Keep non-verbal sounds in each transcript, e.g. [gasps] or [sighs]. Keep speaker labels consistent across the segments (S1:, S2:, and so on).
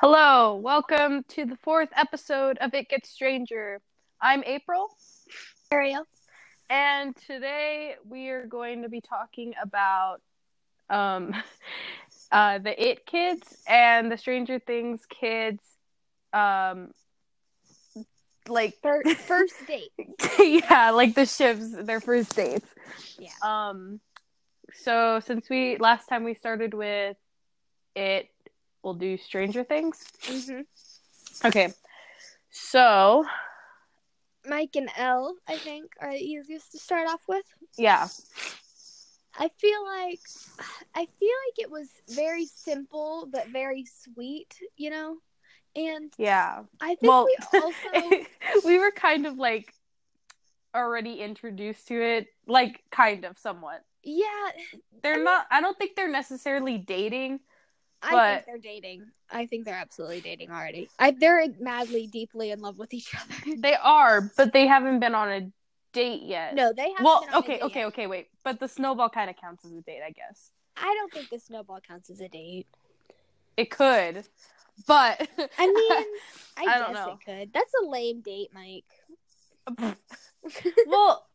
S1: Hello, welcome to the fourth episode of It Gets Stranger. I'm April,
S2: Ariel.
S1: and today we are going to be talking about um, [laughs] uh, the It Kids and the Stranger Things kids. Um, like [laughs]
S2: Fir- first date.
S1: yeah, like the ships, their first dates.
S2: Yeah.
S1: Um so since we last time we started with it we'll do Stranger Things. Mm-hmm. Okay. So,
S2: Mike and Elle, I think, are the easiest to start off with.
S1: yeah.
S2: I feel like I feel like it was very simple but very sweet, you know? And
S1: Yeah.
S2: I think
S1: Well, [laughs]
S2: we also
S1: we were kind of like already introduced to it, like kind of somewhat.
S2: Yeah, I
S1: They're
S2: mean-
S1: not I don't think they're necessarily dating.
S2: I
S1: But-
S2: think they're dating. I think they're absolutely dating already. I, they're madly deeply in love with each other.
S1: They are, but they haven't been on a date yet.
S2: No, they haven't.
S1: Uh, Well,
S2: been on a
S1: okay,
S2: date
S1: okay,
S2: yet.
S1: okay, wait. But the snowball kind of counts as a date, I guess.
S2: I don't think the snowball counts as a date.
S1: It could, but [laughs]
S2: I mean, I,
S1: I
S2: guess
S1: don't know.
S2: it could. That's a lame date, Mike. [laughs]
S1: well,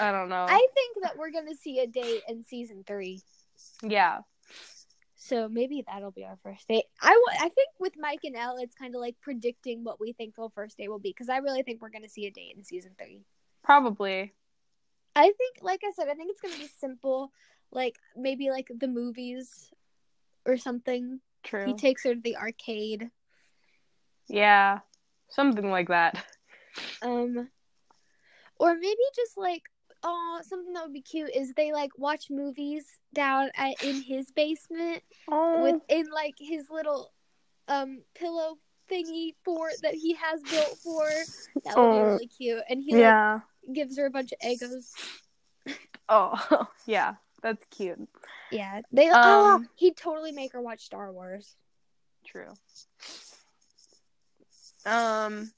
S1: I don't know.
S2: I think that we're gonna see a date in season three,
S1: yeah,
S2: so maybe that'll be our first date. I wa- I think with Mike and Elle, it's kind of like predicting what we think the first date will be because I really think we're gonna see a date in season three.
S1: probably.
S2: I think, like I said, I think it's gonna be simple, like maybe like the movies or something.
S1: True.
S2: He takes her to the arcade.
S1: yeah, something like that.
S2: Um, or maybe just like, oh, something that would be cute is they like watch movies down at, in his basement
S1: Oh, [laughs]
S2: with in like his little um pillow thingy fort that he has built for. That would be
S1: Oh.
S2: really cute. And he like
S1: yeah.
S2: gives her a bunch of egos.
S1: Oh, [laughs] yeah. That's cute.
S2: Yeah, they. oh,
S1: Um.
S2: he'd totally make her watch Star Wars.
S1: True. Um,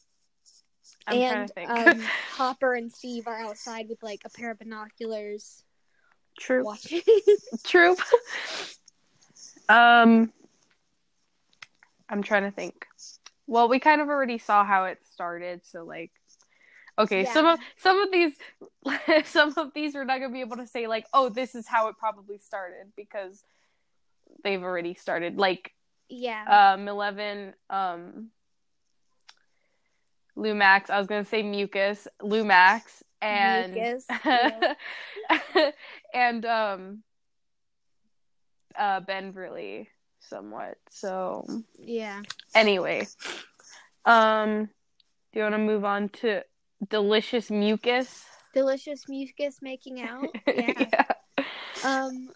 S1: I'm trying
S2: and
S1: to think. [laughs]
S2: um, Hopper and Steve are outside with like a pair of binoculars
S1: True.
S2: watching. [laughs]
S1: True. [laughs] um, I'm trying to think. Well, we kind of already saw how it started, so like, okay,
S2: Yeah.
S1: some of some of these, [laughs] some of these we're not gonna be able to say like, oh, this is how it probably started because they've already started. Like,
S2: yeah.
S1: um, eleven, um, Lumax. I was gonna say mucus, Lumax, and
S2: Mucus,
S1: [laughs]
S2: yeah.
S1: and um uh Ben really somewhat. So
S2: yeah.
S1: anyway. Um do you wanna move on to delicious mucus? [laughs]
S2: Delicious mucus making out. Yeah. Um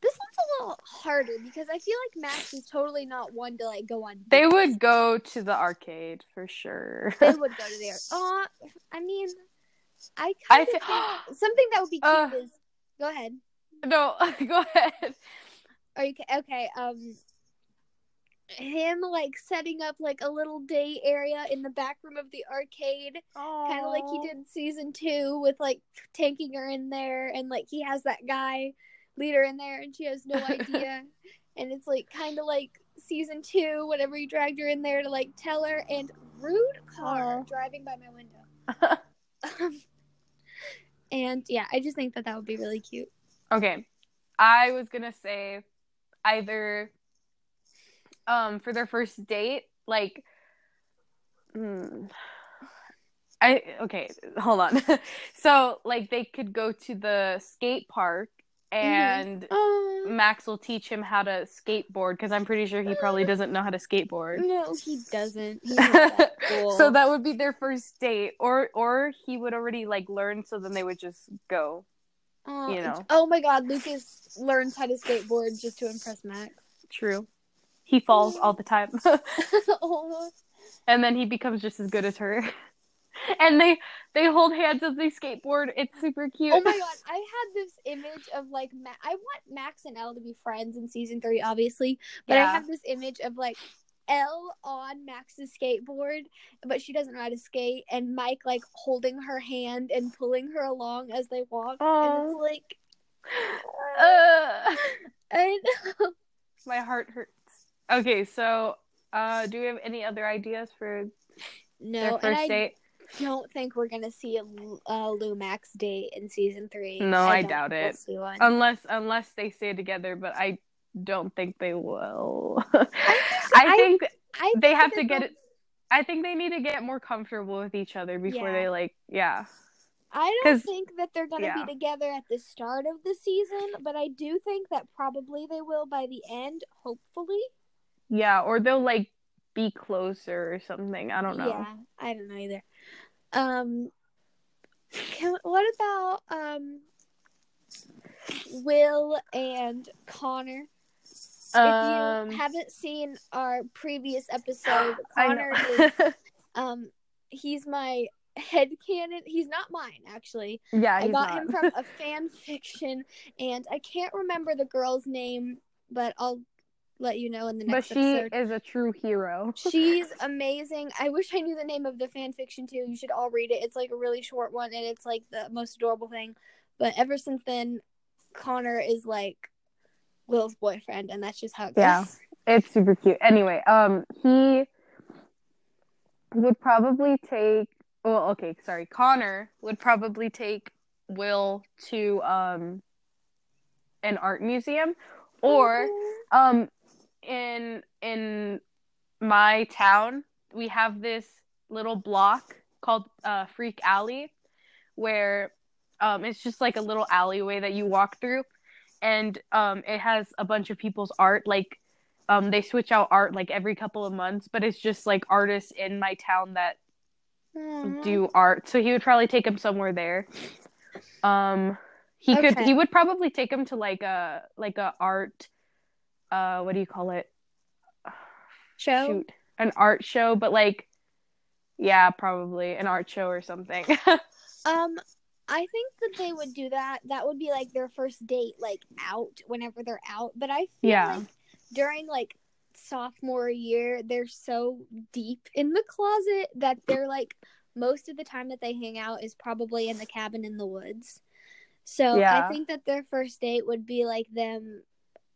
S2: This one's a little harder because I feel like Max is totally not one to like go on.
S1: They
S2: dates.
S1: would go to the arcade for sure. [laughs]
S2: they would go to their Oh, I mean I
S1: I
S2: kind
S1: thi-
S2: of something that would be cute
S1: Uh.
S2: is go ahead.
S1: [gasps] no, [laughs] go ahead.
S2: Are you ca- okay? Um, him like setting up like a little day area in the back room of the arcade, kind of like he did in season two with like tanking her in there, and like he has that guy leader in there, and she has no [laughs] idea, and it's like kind of like season two whenever he dragged her in there to like tell her, and rude car
S1: Aw.
S2: driving by my window. [laughs] Um, and yeah, I just think that that would be really cute.
S1: Okay. I was gonna say either um for their first date, like hmm, I okay, hold on. [laughs] so like they could go to the skate park and
S2: Oh
S1: Max will teach him how to skateboard because I'm pretty sure he probably doesn't know how to skateboard.
S2: No, he doesn't. He's not
S1: [laughs]
S2: that Mm. cool.
S1: So that would be their first date, or or he would already like learn, so then they would just go.
S2: Oh,
S1: you know.
S2: Oh my God, Lucas learns how to skateboard just to impress Max. [laughs]
S1: True, he falls all the time. [laughs]
S2: oh,
S1: and then he becomes just as good as her. [laughs] and they they hold hands as they skateboard. It's super cute. [laughs]
S2: oh my God, I had this image of like Ma- I want Max and Elle to be friends in season three, obviously, but I
S1: Yeah.
S2: have this image of like Elle on Max's skateboard, but she doesn't know how to skate, and Mike like holding her hand and pulling her along as they walk, and it's
S1: Aw.
S2: like.
S1: Ugh.
S2: I know.
S1: my heart hurts. Okay, so uh, do we have any other ideas for their
S2: No, and
S1: first
S2: I
S1: date?
S2: don't think we're gonna see a, Lu- a Lumax date in season three.
S1: No, I
S2: don't
S1: doubt
S2: think we'll
S1: it. Um,
S2: see one.
S1: Unless unless they stay together, but I don't think they will. [laughs] I
S2: I-
S1: think
S2: I
S1: they
S2: think
S1: have to
S2: that
S1: get
S2: they'll-
S1: it. I think they need to get more comfortable with each other before
S2: Yeah.
S1: they like, yeah.
S2: I don't
S1: 'cause-
S2: think that they're gonna
S1: yeah.
S2: be together at the start of the season, but I do think that probably they will by the end. Hopefully,
S1: Yeah, or they'll like be closer or something. I don't know.
S2: Yeah, I don't know either. Um, can, what about um, Will and Connor? if
S1: Um,
S2: you haven't seen our previous
S1: [gasps]
S2: episode,
S1: I
S2: Connor
S1: know.
S2: is um, he's my head canon. He's not mine actually.
S1: [laughs] yeah,
S2: I
S1: he's
S2: got
S1: not.
S2: him from a fan fiction, and I can't remember the girl's name, but I'll let you know in the
S1: but
S2: next
S1: she
S2: episode.
S1: is a true hero.
S2: She's amazing. I wish I knew the name of the fan fiction too. You should all read it. It's like a really short one and it's like the most adorable thing. But ever since then, Connor is like Will's boyfriend, and that's just how it goes.
S1: Yeah. It's super cute. Anyway, um, he would probably take. Well, okay, sorry. Connor would probably take Will to um an art museum,
S2: Mm-hmm. [laughs]
S1: or um in in my town we have this little block called uh, Freak Alley, where um it's just like a little alleyway that you walk through, and um it has a bunch of people's art like um they switch out art like every couple of months but it's just like artists in my town that
S2: Aw.
S1: do art so he would probably take him somewhere there um he could
S2: Okay.
S1: he would probably take him to like a like a art uh what do you call it
S2: show?
S1: shoot an art show but like yeah probably an art show or something [laughs]
S2: Um, I think that they would do that. That would be like their first date, like out whenever they're out. But I feel
S1: Yeah.
S2: like during like sophomore year, they're so deep in the closet that they're like most of the time that they hang out is probably in the cabin in the woods. So
S1: Yeah.
S2: I think that their first date would be like them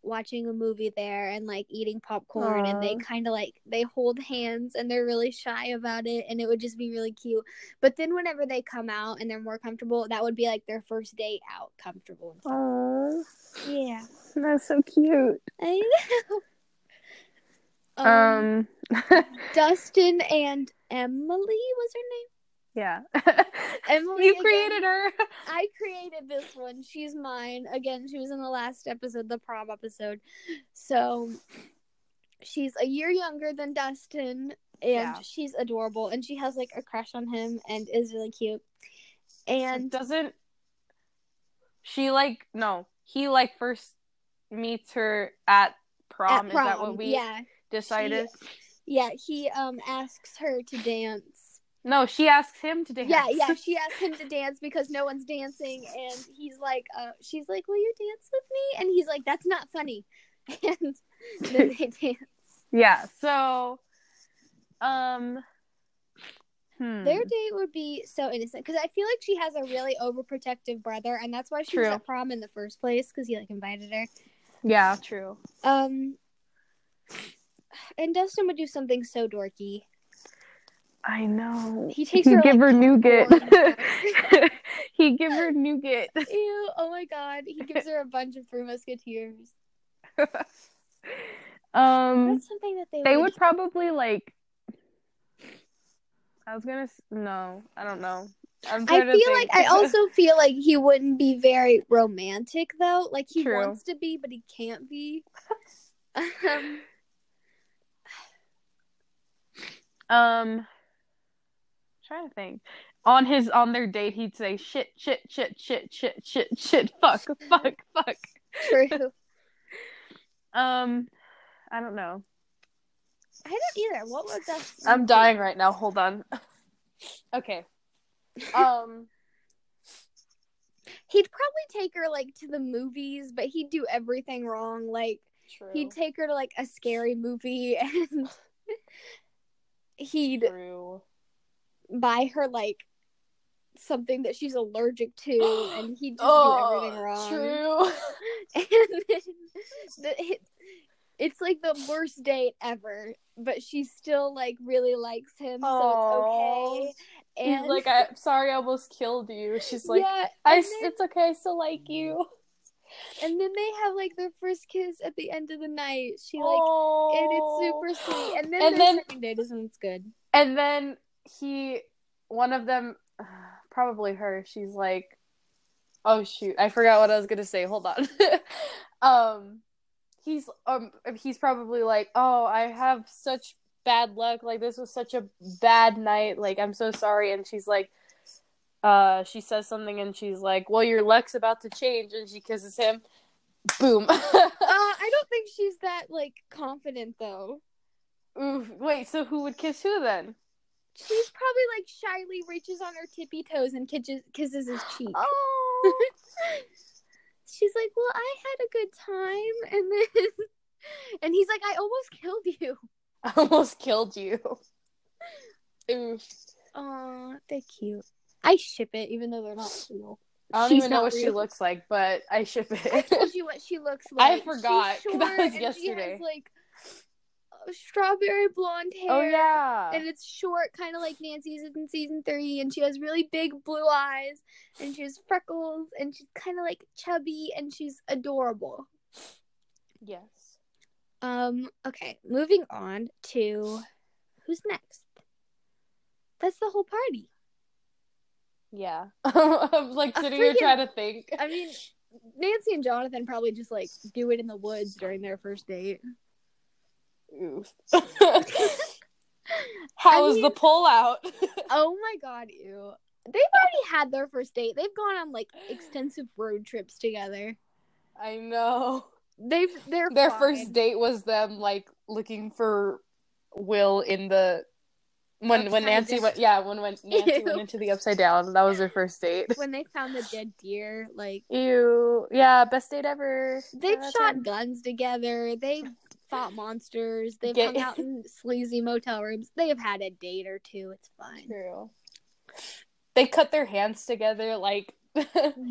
S2: watching a movie there and like eating popcorn and they
S1: Aw.
S2: kind of like they hold hands and they're really shy about it and it would just be really cute but then whenever they come out and they're more comfortable that would be like their first date out comfortable
S1: oh
S2: yeah
S1: that's so cute
S2: [laughs] I know. Um,
S1: um
S2: dustin and emily was her
S1: yeah [laughs]
S2: name emily
S1: you
S2: again.
S1: created her [laughs]
S2: I created this one. She's mine. Again, she was in the last episode, the prom episode. So she's a year younger than Dustin, and
S1: Yeah.
S2: she's adorable. And she has like a crush on him and is really cute. And
S1: doesn't she like no he like first meets her at prom,
S2: at
S1: is that what
S2: prom,
S1: we
S2: yeah,
S1: decided
S2: yeah, he um asks her to dance.
S1: no she asks him to dance
S2: Yeah, yeah, she asked him to dance because no one's dancing, and he's like, uh, she's like, "Will you dance with me?" And he's like, "That's not funny." [laughs] And then they dance.
S1: [laughs] yeah so um hmm.
S2: Their date would be so innocent because I feel like she has a really overprotective brother, and that's why she was
S1: True.
S2: at prom in the first place because he like invited her.
S1: yeah true
S2: Um, and Dustin would do something so dorky.
S1: i know [laughs]
S2: He takes
S1: he
S2: her
S1: give
S2: like,
S1: her nougat
S2: popcorn.
S1: [laughs] he give her nougat
S2: ew, oh my god, he gives her a bunch of Three Musketeers.
S1: um
S2: That's something that they
S1: they
S2: would.
S1: would probably like i was gonna s- no i don't know I'm
S2: I
S1: trying to
S2: feel like
S1: think.
S2: I also feel like he wouldn't be very romantic though. Like he
S1: True.
S2: wants to be, but he
S1: [laughs]
S2: can't be. um,
S1: [laughs] um trying to think on his on their date he'd say shit shit shit shit shit shit shit fuck fuck fuck [laughs]
S2: true.
S1: um i don't know
S2: I don't either. What would Dustin?
S1: i'm
S2: do?
S1: dying right now
S3: [laughs]
S1: hold on okay um
S2: He'd probably take her like to the movies, but he'd do everything wrong. Like
S1: true
S2: he'd take her to like a scary movie [laughs] and he'd
S1: true
S2: buy her like something that she's allergic to
S3: [gasps] Oh,
S2: and [laughs] he'd just do everything wrong.
S1: true
S2: And then the, It's like the worst date ever, but she still like really likes him, so it's okay.
S3: He's
S2: And
S3: like, I'm sorry I almost killed you. She's like,
S2: yeah,
S3: I,
S2: and
S3: s-
S2: then-
S3: it's okay, I still like you.
S2: and then they have like their first kiss at the end of the night. She like and
S3: Oh.
S2: it's super sweet. And then
S3: And
S2: their
S3: then-
S2: second date is when it's good.
S1: [laughs] And then he, one of them, [sighs] probably her, she's like, oh shoot, I forgot what I was gonna say. Hold on. [laughs] um, he's um, he's probably like, oh, I have such bad luck. Like this was such a bad night. Like I'm so sorry. And she's like, uh, she says something, and she's like, well, your luck's about to change, and she kisses him. Boom. [laughs]
S2: Uh, I don't think she's that like confident though.
S1: Oof. Wait, so who would kiss who then?
S2: She's probably like shyly reaches on her tippy toes and kisses kisses his cheek.
S1: Oh.
S2: She's like, "Well, I had a good time," [laughs] and then, and he's like, "I almost killed you."
S1: I [laughs] almost killed you. Oof.
S2: Aw, they're cute. I ship it, even though they're not
S1: [laughs]
S2: real.
S1: I don't
S2: She's
S1: even know
S2: not
S1: what she
S2: real.
S1: looks like, but I ship
S2: I
S1: it.
S2: told you what she looks
S1: I
S2: like.
S1: forgot, 'cause
S2: She's
S1: that
S2: short,
S1: was
S2: and She
S1: yesterday.
S2: has, like uh, strawberry blonde
S1: [laughs]
S2: hair.
S1: oh yeah.
S2: and it's short, kind of like Nancy's in season three, and she has really big blue eyes, and she has freckles, and she's kind of like chubby, and she's adorable.
S1: yes.
S2: Um, okay, moving on to who's next? That's the whole party.
S1: Yeah. [laughs] I'm like
S2: A
S1: sitting here
S2: freaking-
S1: trying to think.
S2: I mean, Nancy and Jonathan probably just like do it in the woods during their first date. [laughs]
S1: Oof. How
S2: I
S1: was the
S2: mean-
S1: pull out? [laughs]
S2: Oh my god, ew. They've already had their first date. They've gone on like extensive road trips together.
S1: I know.
S2: They've they're
S1: Their
S2: fine.
S1: first date was them like looking for Will in the when when
S2: Upside
S1: Nancy
S2: down.
S1: went yeah, when when Nancy
S2: Ew.
S1: went into the upside down. That was their first date.
S2: when they found the dead deer, like
S1: Ew. Yeah, best date ever.
S2: they've
S1: Ten out of
S2: shot
S1: 10.
S2: guns together, they've fought monsters, they've
S1: Get-
S2: hung [laughs] out in sleazy motel rooms, they've had a date or two. It's fine.
S1: True. They cut their hands together like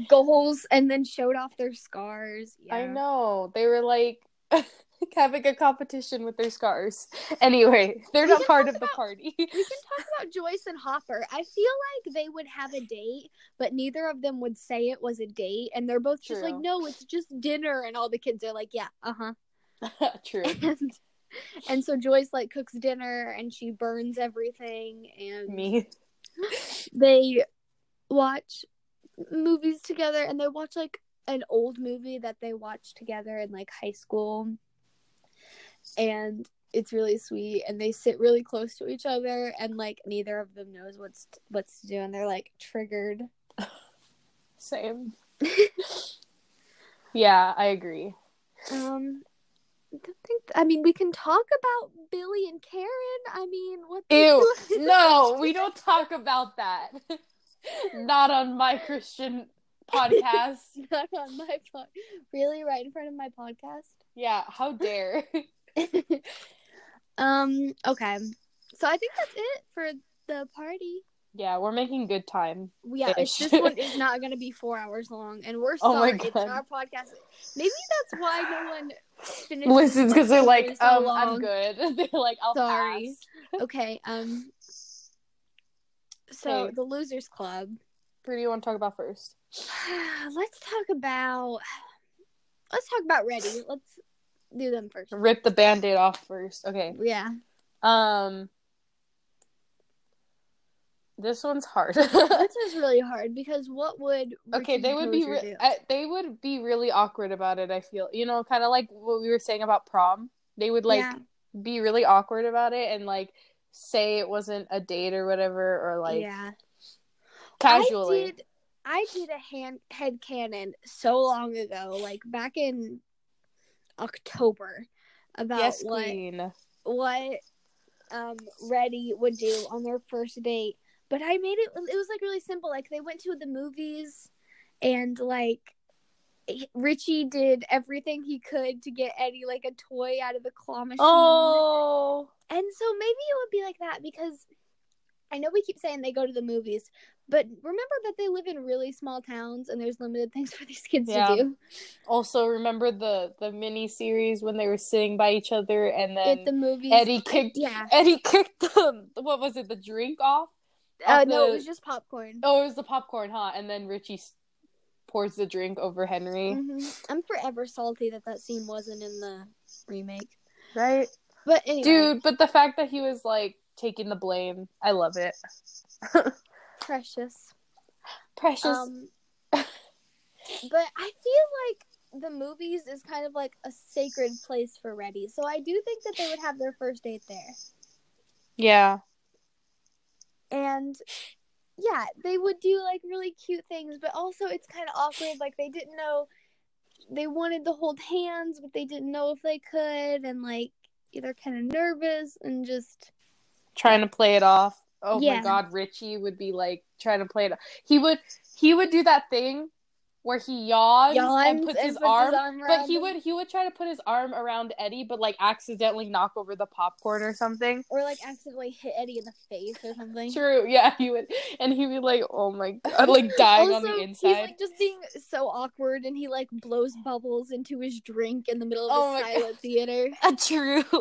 S2: Goals, and then showed off their scars. Yeah.
S1: I know. They were like [laughs] having a competition with their scars. Anyway, they're
S2: We
S1: not
S2: can
S1: part
S2: talk
S1: of the
S2: about- [laughs]
S1: party.
S2: We can talk about Joyce and Hopper. I feel like they would have a date, but neither of them would say it was a date, and they're both just like,
S1: True.
S2: "No, it's just dinner," and all the kids are like, "Yeah, uh huh."
S1: True.
S2: [laughs] And, and so Joyce like cooks dinner, and she burns everything, and
S1: [laughs] Me.
S2: they watch movies together and they watch like an old movie that they watched together in like high school and it's really sweet and they sit really close to each other and like neither of them knows what's what's to do and they're like triggered [laughs]
S1: Same. yeah, I agree.
S2: um I don't think I mean we can talk about Billy and Karen I mean what they
S1: Ew.
S2: [laughs] do-
S1: No, we don't talk about that. [laughs] Not on my Christian podcast.
S2: not on my pod really right in front of my podcast
S1: Yeah, how dare. [laughs]
S2: [laughs] um okay so i think that's it for the party
S1: Yeah, we're making good time.
S2: yeah it's,
S1: Ish.
S2: this one is not going to be four hours long and we're
S1: Oh my
S2: sorry it's
S1: God.
S2: our podcast maybe that's why no one finished
S1: Listen, because they're like,
S2: so
S1: um, I'm
S2: long.
S1: good. [laughs] They're like, I'll
S2: Sorry.
S1: pass.
S2: okay um so
S1: Okay.
S2: the losers club [sighs]
S1: Who do you want to talk about first?
S2: let's talk about let's talk about ready let's do them first
S1: Rip the band-aid off first. Okay.
S2: yeah
S1: Um This one's hard. [laughs]
S2: this is really hard because what would
S1: okay,
S2: Richard
S1: they would be
S2: Tozier
S1: re-
S2: do?
S1: uh, they would be really awkward about it, I feel. You know, kind of like what we were saying about prom. They would like
S2: Yeah.
S1: be really awkward about it and like say it wasn't a date or whatever or like
S2: yeah
S1: casually.
S2: I did, I did a hand head cannon so long ago, like back in October, about
S1: yes,
S2: what
S1: queen.
S2: what um Reddy would do on their first date. But I made it. It was like really simple. Like they went to the movies, and like he- Richie did everything he could to get Eddie like a toy out of the claw machine.
S1: Oh.
S2: And so maybe it would be like that because I know we keep saying they go to the movies, but remember that they live in really small towns and there's limited [laughs] things for these kids
S1: Yeah.
S2: to do.
S1: Also, remember the the mini series when they were sitting by each other and
S2: At
S1: then
S2: the movies,
S1: Eddie kicked
S2: yeah.
S1: Eddie [laughs] kicked the what was it the drink off?
S2: Uh,
S1: off
S2: no,
S1: the-
S2: it was just popcorn.
S1: Oh, it was the popcorn, huh? And then Richie s- pours the drink over Henry.
S2: Mhm. I'm forever salty that that scene wasn't in the remake.
S4: Right?
S2: But anyway,
S1: Dude, but the fact that he was like taking the blame, I love it.
S2: precious.
S1: Precious.
S2: Um, but I feel like the movies is kind of like a sacred place for Reddy, so I do think that they would have their first date there,
S1: yeah.
S2: and yeah, they would do like really cute things. But also, it's kind of awkward. Like they didn't know they wanted to hold hands, but they didn't know if they could, and like they're kind of nervous and just
S1: Trying to play it off. Oh
S2: Yeah.
S1: my god, Richie would be like trying to play it off. He would he would do that thing where he yawns, and
S2: yawns
S1: puts his arm but
S2: around
S1: he
S2: them.
S1: would he would try to put his arm around Eddie, but like accidentally knock over the popcorn or something.
S2: or like accidentally hit Eddie in the face or something.
S1: True, [laughs] yeah, he would, and he'd be like, "Oh my god," [laughs]
S2: [laughs]
S1: like dying on
S2: Also,
S1: the
S2: He's
S1: inside.
S2: like just being so awkward, and he like blows bubbles into his drink in the middle of
S1: Oh
S2: a
S1: my [laughs]
S2: silent theater.
S1: Uh, true. [laughs]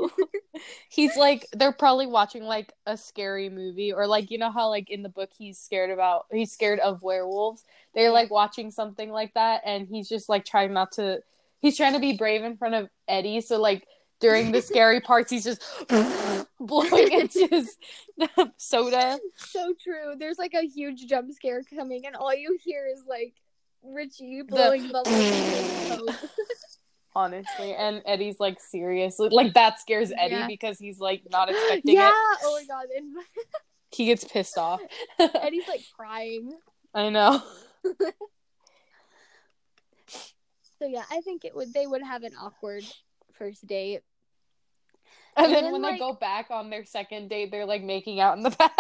S1: he's like they're probably watching like a scary movie or like you know how like in the book he's scared about he's scared of werewolves. They're like watching something like that and he's just like trying not to he's trying to be brave in front of Eddie so like during [laughs] the scary parts he's just [laughs] blowing into his [laughs] soda.
S2: So true. There's like a huge jump scare coming, and all you hear is like Richie blowing bubbles.
S1: [laughs]
S2: into his coat.
S1: honestly. And Eddie's like seriously, like that scares Eddie
S4: Yeah.
S1: because he's like not expecting
S2: yeah.
S1: it.
S2: Oh my god.
S1: [laughs]
S2: And
S1: He gets pissed off.
S2: Eddie's like crying.
S1: I know. [laughs]
S2: So yeah, I think it would. They would have an awkward first date.
S1: And,
S2: And
S1: then,
S2: then,
S1: when
S2: like-
S1: they go back on their second date, they're like making out in the [laughs] back.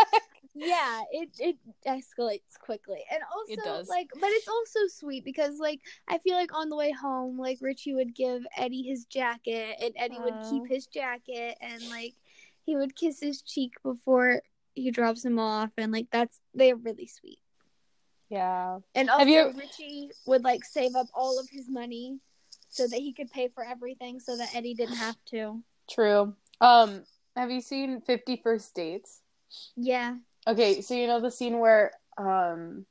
S2: Yeah, it it escalates quickly, and also
S1: does.
S2: like, but it's also sweet because like I feel like on the way home, like Richie would give Eddie his jacket, and Eddie would
S1: Aw.
S2: keep his jacket, and like he would kiss his cheek before he drops him off, and like that's they're really sweet.
S1: Yeah.
S2: And also,
S1: Have you-
S2: Richie would like save up all of his money so that he could pay for everything, so that
S1: [sighs]
S2: Eddie didn't have to.
S1: True. Um, have you seen Fifty First Dates?
S2: Yeah,
S1: Okay, so you know the scene where um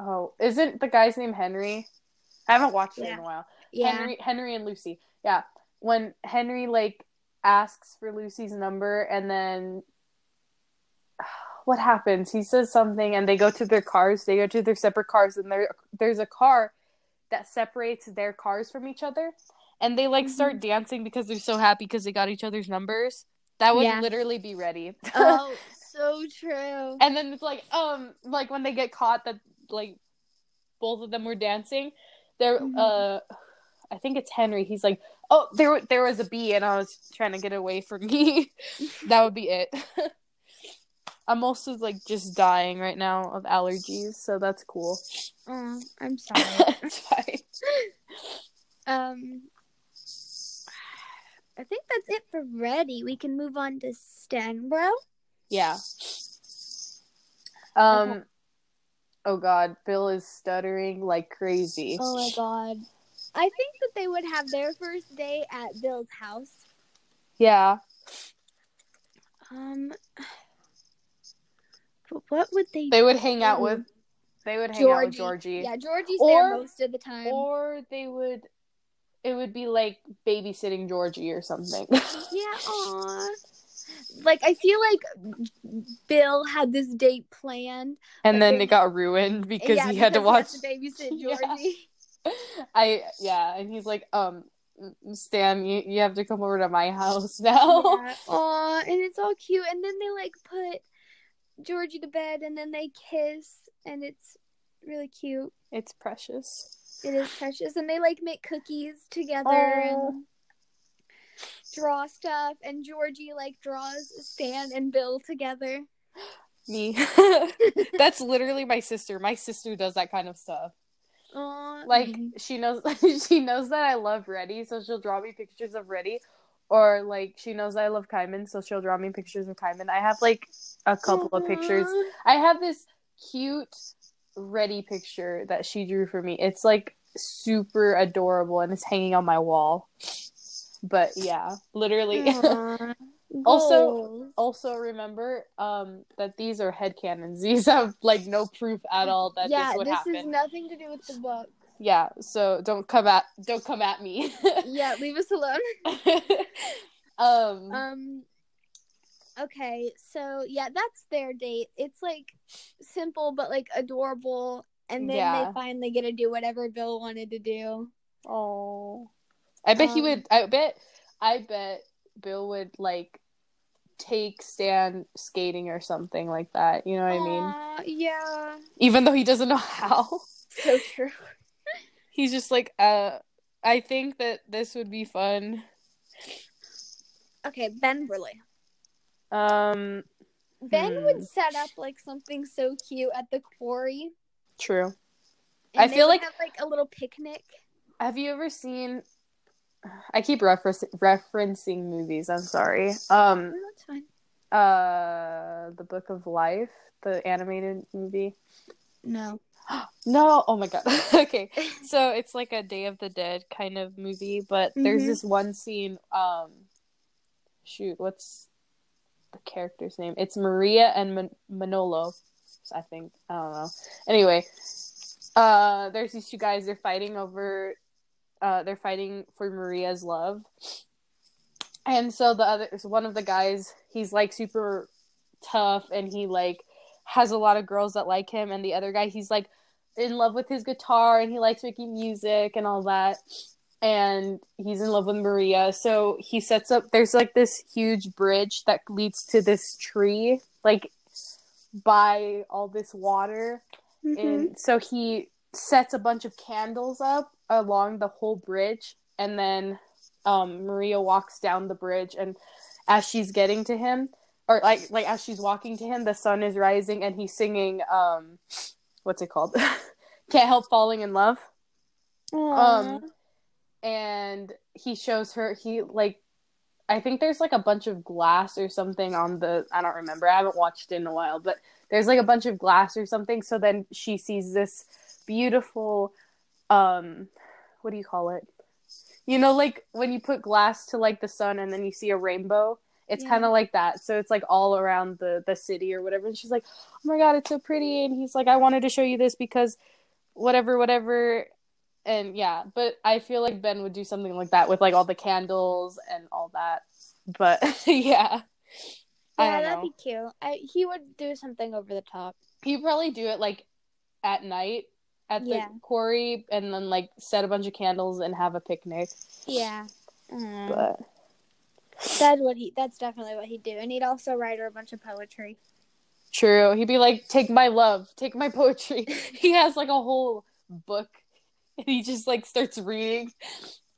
S1: oh, isn't the guy's name Henry? I haven't watched it in a while.
S2: yeah,
S1: Henry Henry and Lucy. Yeah. When Henry like asks for Lucy's number and then [sighs] what happens? He says something and they go to their cars, they go to their separate cars and there there's a car that separates their cars from each other and they like start
S2: Mm-hmm.
S1: dancing because they're so happy because they got each other's numbers. That would
S2: Yeah.
S1: literally be ready.
S2: oh, so
S1: [laughs]
S2: true.
S1: and then it's like um like when they get caught that like both of them were dancing there
S2: Mhm.
S1: uh i think it's henry he's like oh there wa- there was a bee and i was trying to get away from me [laughs] that would be it [laughs] i'm also like just dying right now of allergies so that's cool [laughs]
S2: Oh, I'm sorry.
S1: it's fine
S2: Um, I think that's it for Reddy. We can move on to Stenbro.
S1: yeah um oh god bill is stuttering like crazy
S2: Oh my god. I think that they would have their first day at Bill's house.
S1: yeah
S2: Um, but what would they?
S1: they would hang out
S2: Ooh.
S1: with they would hang out with georgie
S2: Yeah, Georgie's
S1: Or-
S2: there most of the time.
S1: or they would it would be like babysitting georgie or something
S2: yeah. Aw. Like I feel like Bill had this date planned
S1: [laughs] and [laughs] then
S2: they-
S1: it got ruined because
S2: Yeah,
S1: he had to watch
S2: because he had to
S1: [laughs] Yeah.
S2: babysit Georgie.
S1: [laughs] i yeah and he's like um stan you, you have to come over to my house [laughs] now
S2: Aw, and it's all cute. And then they like put Georgie to bed and then they kiss and it's really cute.
S1: it's precious
S2: It is precious. And they like make cookies together
S1: Uh,
S2: and draw stuff and Georgie like draws Stan and Bill together.
S1: me [laughs] that's literally my sister my sister does that kind of stuff
S2: Aw.
S1: [laughs]
S2: Mm-hmm.
S1: like she knows she knows that i love reddy so she'll draw me pictures of reddy Or like she knows I love Kaiman, so she'll draw me pictures of Kaiman. I have like a couple of pictures. I have this cute ready picture that she drew for me. It's like super adorable and it's hanging on my wall. But yeah, literally.
S4: Aw.
S1: Also- [laughs] also remember um that these are headcanons. [laughs] These have like no proof at all that
S2: yeah,
S1: this would
S2: this
S1: happen.
S2: is nothing to do with the book.
S1: yeah, so don't come at don't come at me. [laughs]
S2: yeah, leave us alone.
S1: um
S2: Um okay, so yeah, that's their date. It's like simple but like adorable and then
S1: Yeah.
S2: they finally get to do whatever Bill wanted to do.
S1: Oh. I bet he
S2: Um,
S1: would I bet I bet Bill would like take Stan skating or something like that. You know what I mean?
S2: Aw, yeah.
S1: Even though he doesn't know [laughs] how.
S2: So true.
S1: He's just like, uh I think that this would be fun.
S2: Okay, Ben Burley.
S1: Um
S2: Ben
S1: Hmm.
S2: would set up like something so cute at the quarry.
S1: true.
S2: and
S1: I
S2: they
S1: feel
S2: would
S1: like-
S2: have like a little picnic.
S1: Have you ever seen I keep reference- referencing movies, I'm sorry. Um
S2: No, that's fine.
S1: uh The Book of Life, the animated movie.
S2: No.
S1: No, oh my god. [laughs] okay. So it's like a Day of the Dead kind of movie, but there's
S2: Mhm.
S1: this one scene um shoot, what's the character's name? It's Maria and Man- Manolo, I think. I don't know. Anyway, uh there's these two guys they're fighting over uh they're fighting for Maria's love. And so the other so one of the guys, he's like super tough and he like has a lot of girls that like him and the other guy he's like in love with his guitar and he likes making music and all that and he's in love with Maria so he sets up there's like this huge bridge that leads to this tree like by all this water
S2: Mm-hmm.
S1: and so he sets a bunch of candles up along the whole bridge and then um, maria walks down the bridge and as she's getting to him or like like as she's walking to him the sun is rising and he's singing um what's it called [laughs] can't help falling in love um and he shows her he like i think there's like a bunch of glass or something on the i don't remember i haven't watched it in a while but there's like a bunch of glass or something so then she sees this beautiful um what do you call it you know like when you put glass to like the sun and then you see a rainbow it's
S2: Yeah.
S1: kind of like that so it's like all around the the city or whatever and she's like oh my god it's so pretty and he's like i wanted to show you this because whatever whatever and yeah but i feel like ben would do something like that with like all the candles and all that but [laughs] yeah
S2: yeah,
S1: i don't
S2: that'd
S1: know
S2: be cute. I, he would do something over the top.
S1: you probably do it like at night at
S2: Yeah.
S1: the quarry and then like set a bunch of candles and have a picnic
S2: Yeah. Mm.
S1: but
S2: That's what he. That's definitely what he'd do, and he'd also write her a bunch of poetry.
S1: true he'd be like take my love take my poetry [laughs] he has like a whole book and he just like starts reading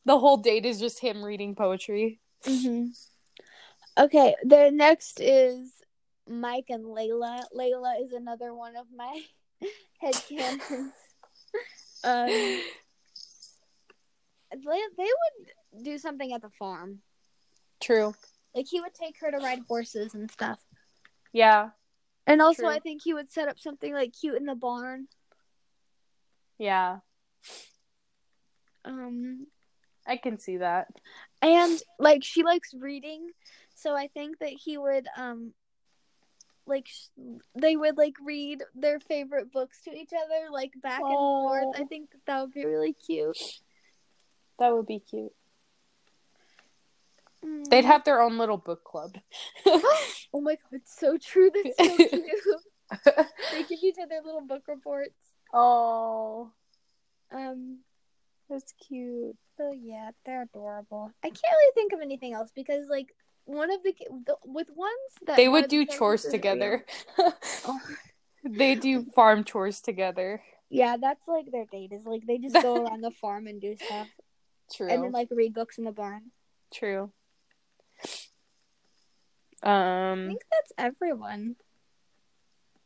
S1: the whole date is just him reading poetry
S2: Mm-hmm. Okay, the next is Mike and Layla. Layla is another one of my [laughs] headcanons. um, they they would do something at the farm.
S1: [laughs] true
S2: Like he would take her to ride horses and stuff.
S1: yeah
S2: And also,
S1: True.
S2: I think he would set up something like cute in the barn.
S1: yeah
S2: Um,
S1: i can see that
S2: and like she likes reading, so I think that he would um, like sh- they would like read their favorite books to each other, like back and
S1: Oh.
S2: forth. I think that, that would be really cute.
S1: that would be cute they'd have their own little book club
S2: Mm. Oh my god, so true. That's
S1: [laughs]
S2: so cute. they give each other little book reports.
S1: oh
S2: Um.
S1: that's cute
S2: So yeah, they're adorable. I can't really think of anything else because like one of the, ki- the with ones that
S1: they
S2: one
S1: would
S2: of the
S1: do
S2: characters
S1: chores
S2: isn't [laughs]
S1: together. [laughs]
S2: real.
S1: they do farm chores together.
S2: Yeah, that's like their date is like they
S1: [laughs]
S2: just go around the farm and do stuff
S1: True.
S2: and then like read books in the barn.
S1: True.
S2: I
S1: Um.
S2: think that's everyone.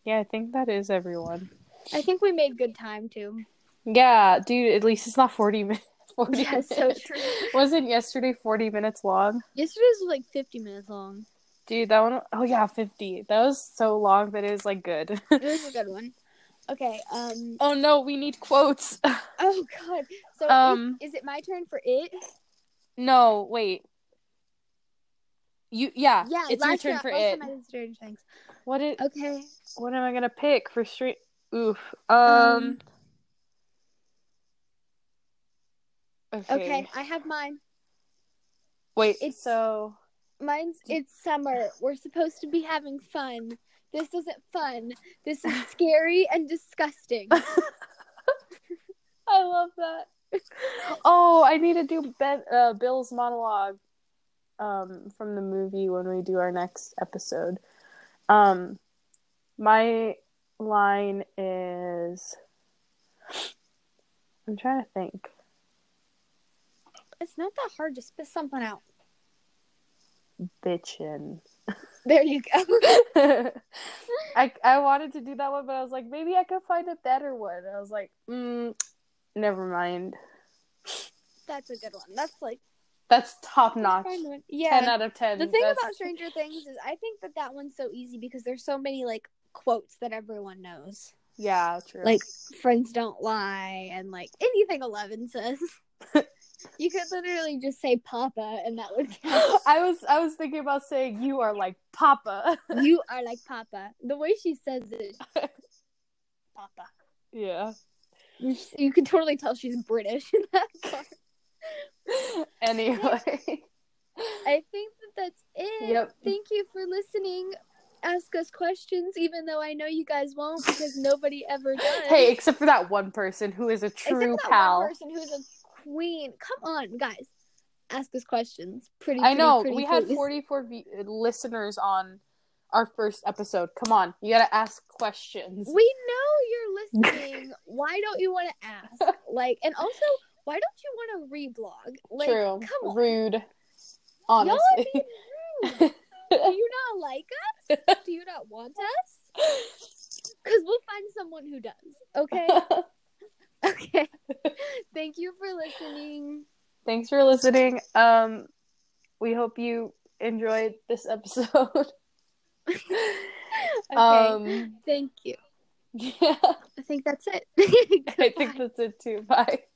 S1: Yeah, I think that is everyone.
S2: I think we made good time too.
S1: Yeah, dude. At least it's not [laughs] forty minutes. 40
S2: Yeah,
S1: minutes.
S2: so true.
S1: Wasn't yesterday 40 minutes long?
S2: Yesterday's was like 50 minutes long.
S1: Dude, that one oh yeah, 50. That was so long that it was like good. [laughs]
S2: It was a good one. Okay. Um.
S1: oh no, we need quotes.
S2: Oh God. So
S1: Um,
S2: um, is it my turn for it?
S1: no, wait. You yeah,
S2: Yeah.
S1: it's your
S2: last
S1: turn
S2: year-
S1: for
S2: last
S1: it.
S2: time I did Stranger Things.
S1: What it
S2: Okay.
S1: what am I gonna pick for street oof. Um
S2: Um,
S1: um, Okay.
S2: okay. I have mine.
S1: Wait,
S2: it's-
S1: so
S2: Mine's it's summer. We're supposed to be having fun. This isn't fun.
S1: [laughs]
S2: This is scary and disgusting. [laughs]
S1: I love that. oh, I need to do ben, uh, Bill's monologue um, from the movie when we do our next episode. Um, my line is I'm trying to think.
S2: It's not that hard. Just spit
S1: [laughs]
S2: something out.
S1: Bitchin.
S2: There you go.
S1: [laughs] I I wanted to do that one, but I was like, maybe I could find a better one. I was like, mm, never mind.
S2: That's a good one. That's like
S1: That's top notch.
S2: Find one.
S1: Ten
S2: Yeah.
S1: out of ten.
S2: The thing
S1: That's-
S2: about Stranger Things is I think that that one's so easy because there's so many like quotes that everyone knows.
S1: yeah, true.
S2: Like friends don't lie and like anything Eleven says. [laughs] you could literally just say Papa and that would
S1: [laughs]
S2: count.
S1: [laughs] I was I was thinking about saying you are like Papa. [laughs]
S2: you are like Papa. The way she says it, Papa.
S1: Yeah.
S2: You s- You can totally tell she's British in that part.
S1: [laughs] Anyway.
S2: I think that that's it.
S1: Yep.
S2: Thank you for listening. Ask us questions, even though I know you guys won't because nobody ever does.
S1: [laughs] hey, except for that one person who is a
S2: Except
S1: true
S2: for that
S1: pal.
S2: One person who's a queen. Come on, guys. Ask us questions. Pretty.
S1: I
S2: pretty,
S1: know
S2: pretty
S1: we had
S2: please.
S1: 44 v- listeners on our first episode. Come on, you gotta ask questions.
S2: We know you're
S1: [laughs]
S2: listening. why don't you want to ask? Like, and also, why don't you want to reblog? Like,
S1: true,
S2: come on.
S1: rude,
S2: Y'all
S1: honestly.
S2: are
S1: [laughs]
S2: being rude. Do you not like us? Do you not want us?
S1: [laughs]
S2: Because we'll find someone who does. Okay. Okay. [laughs] Thank you for listening.
S1: Thanks for listening. Um, we hope you enjoyed this episode.
S2: Okay.
S1: [laughs] Um, [laughs]
S2: Thank you.
S1: yeah,
S2: I think that's it. [laughs]
S1: I think that's it too. Bye.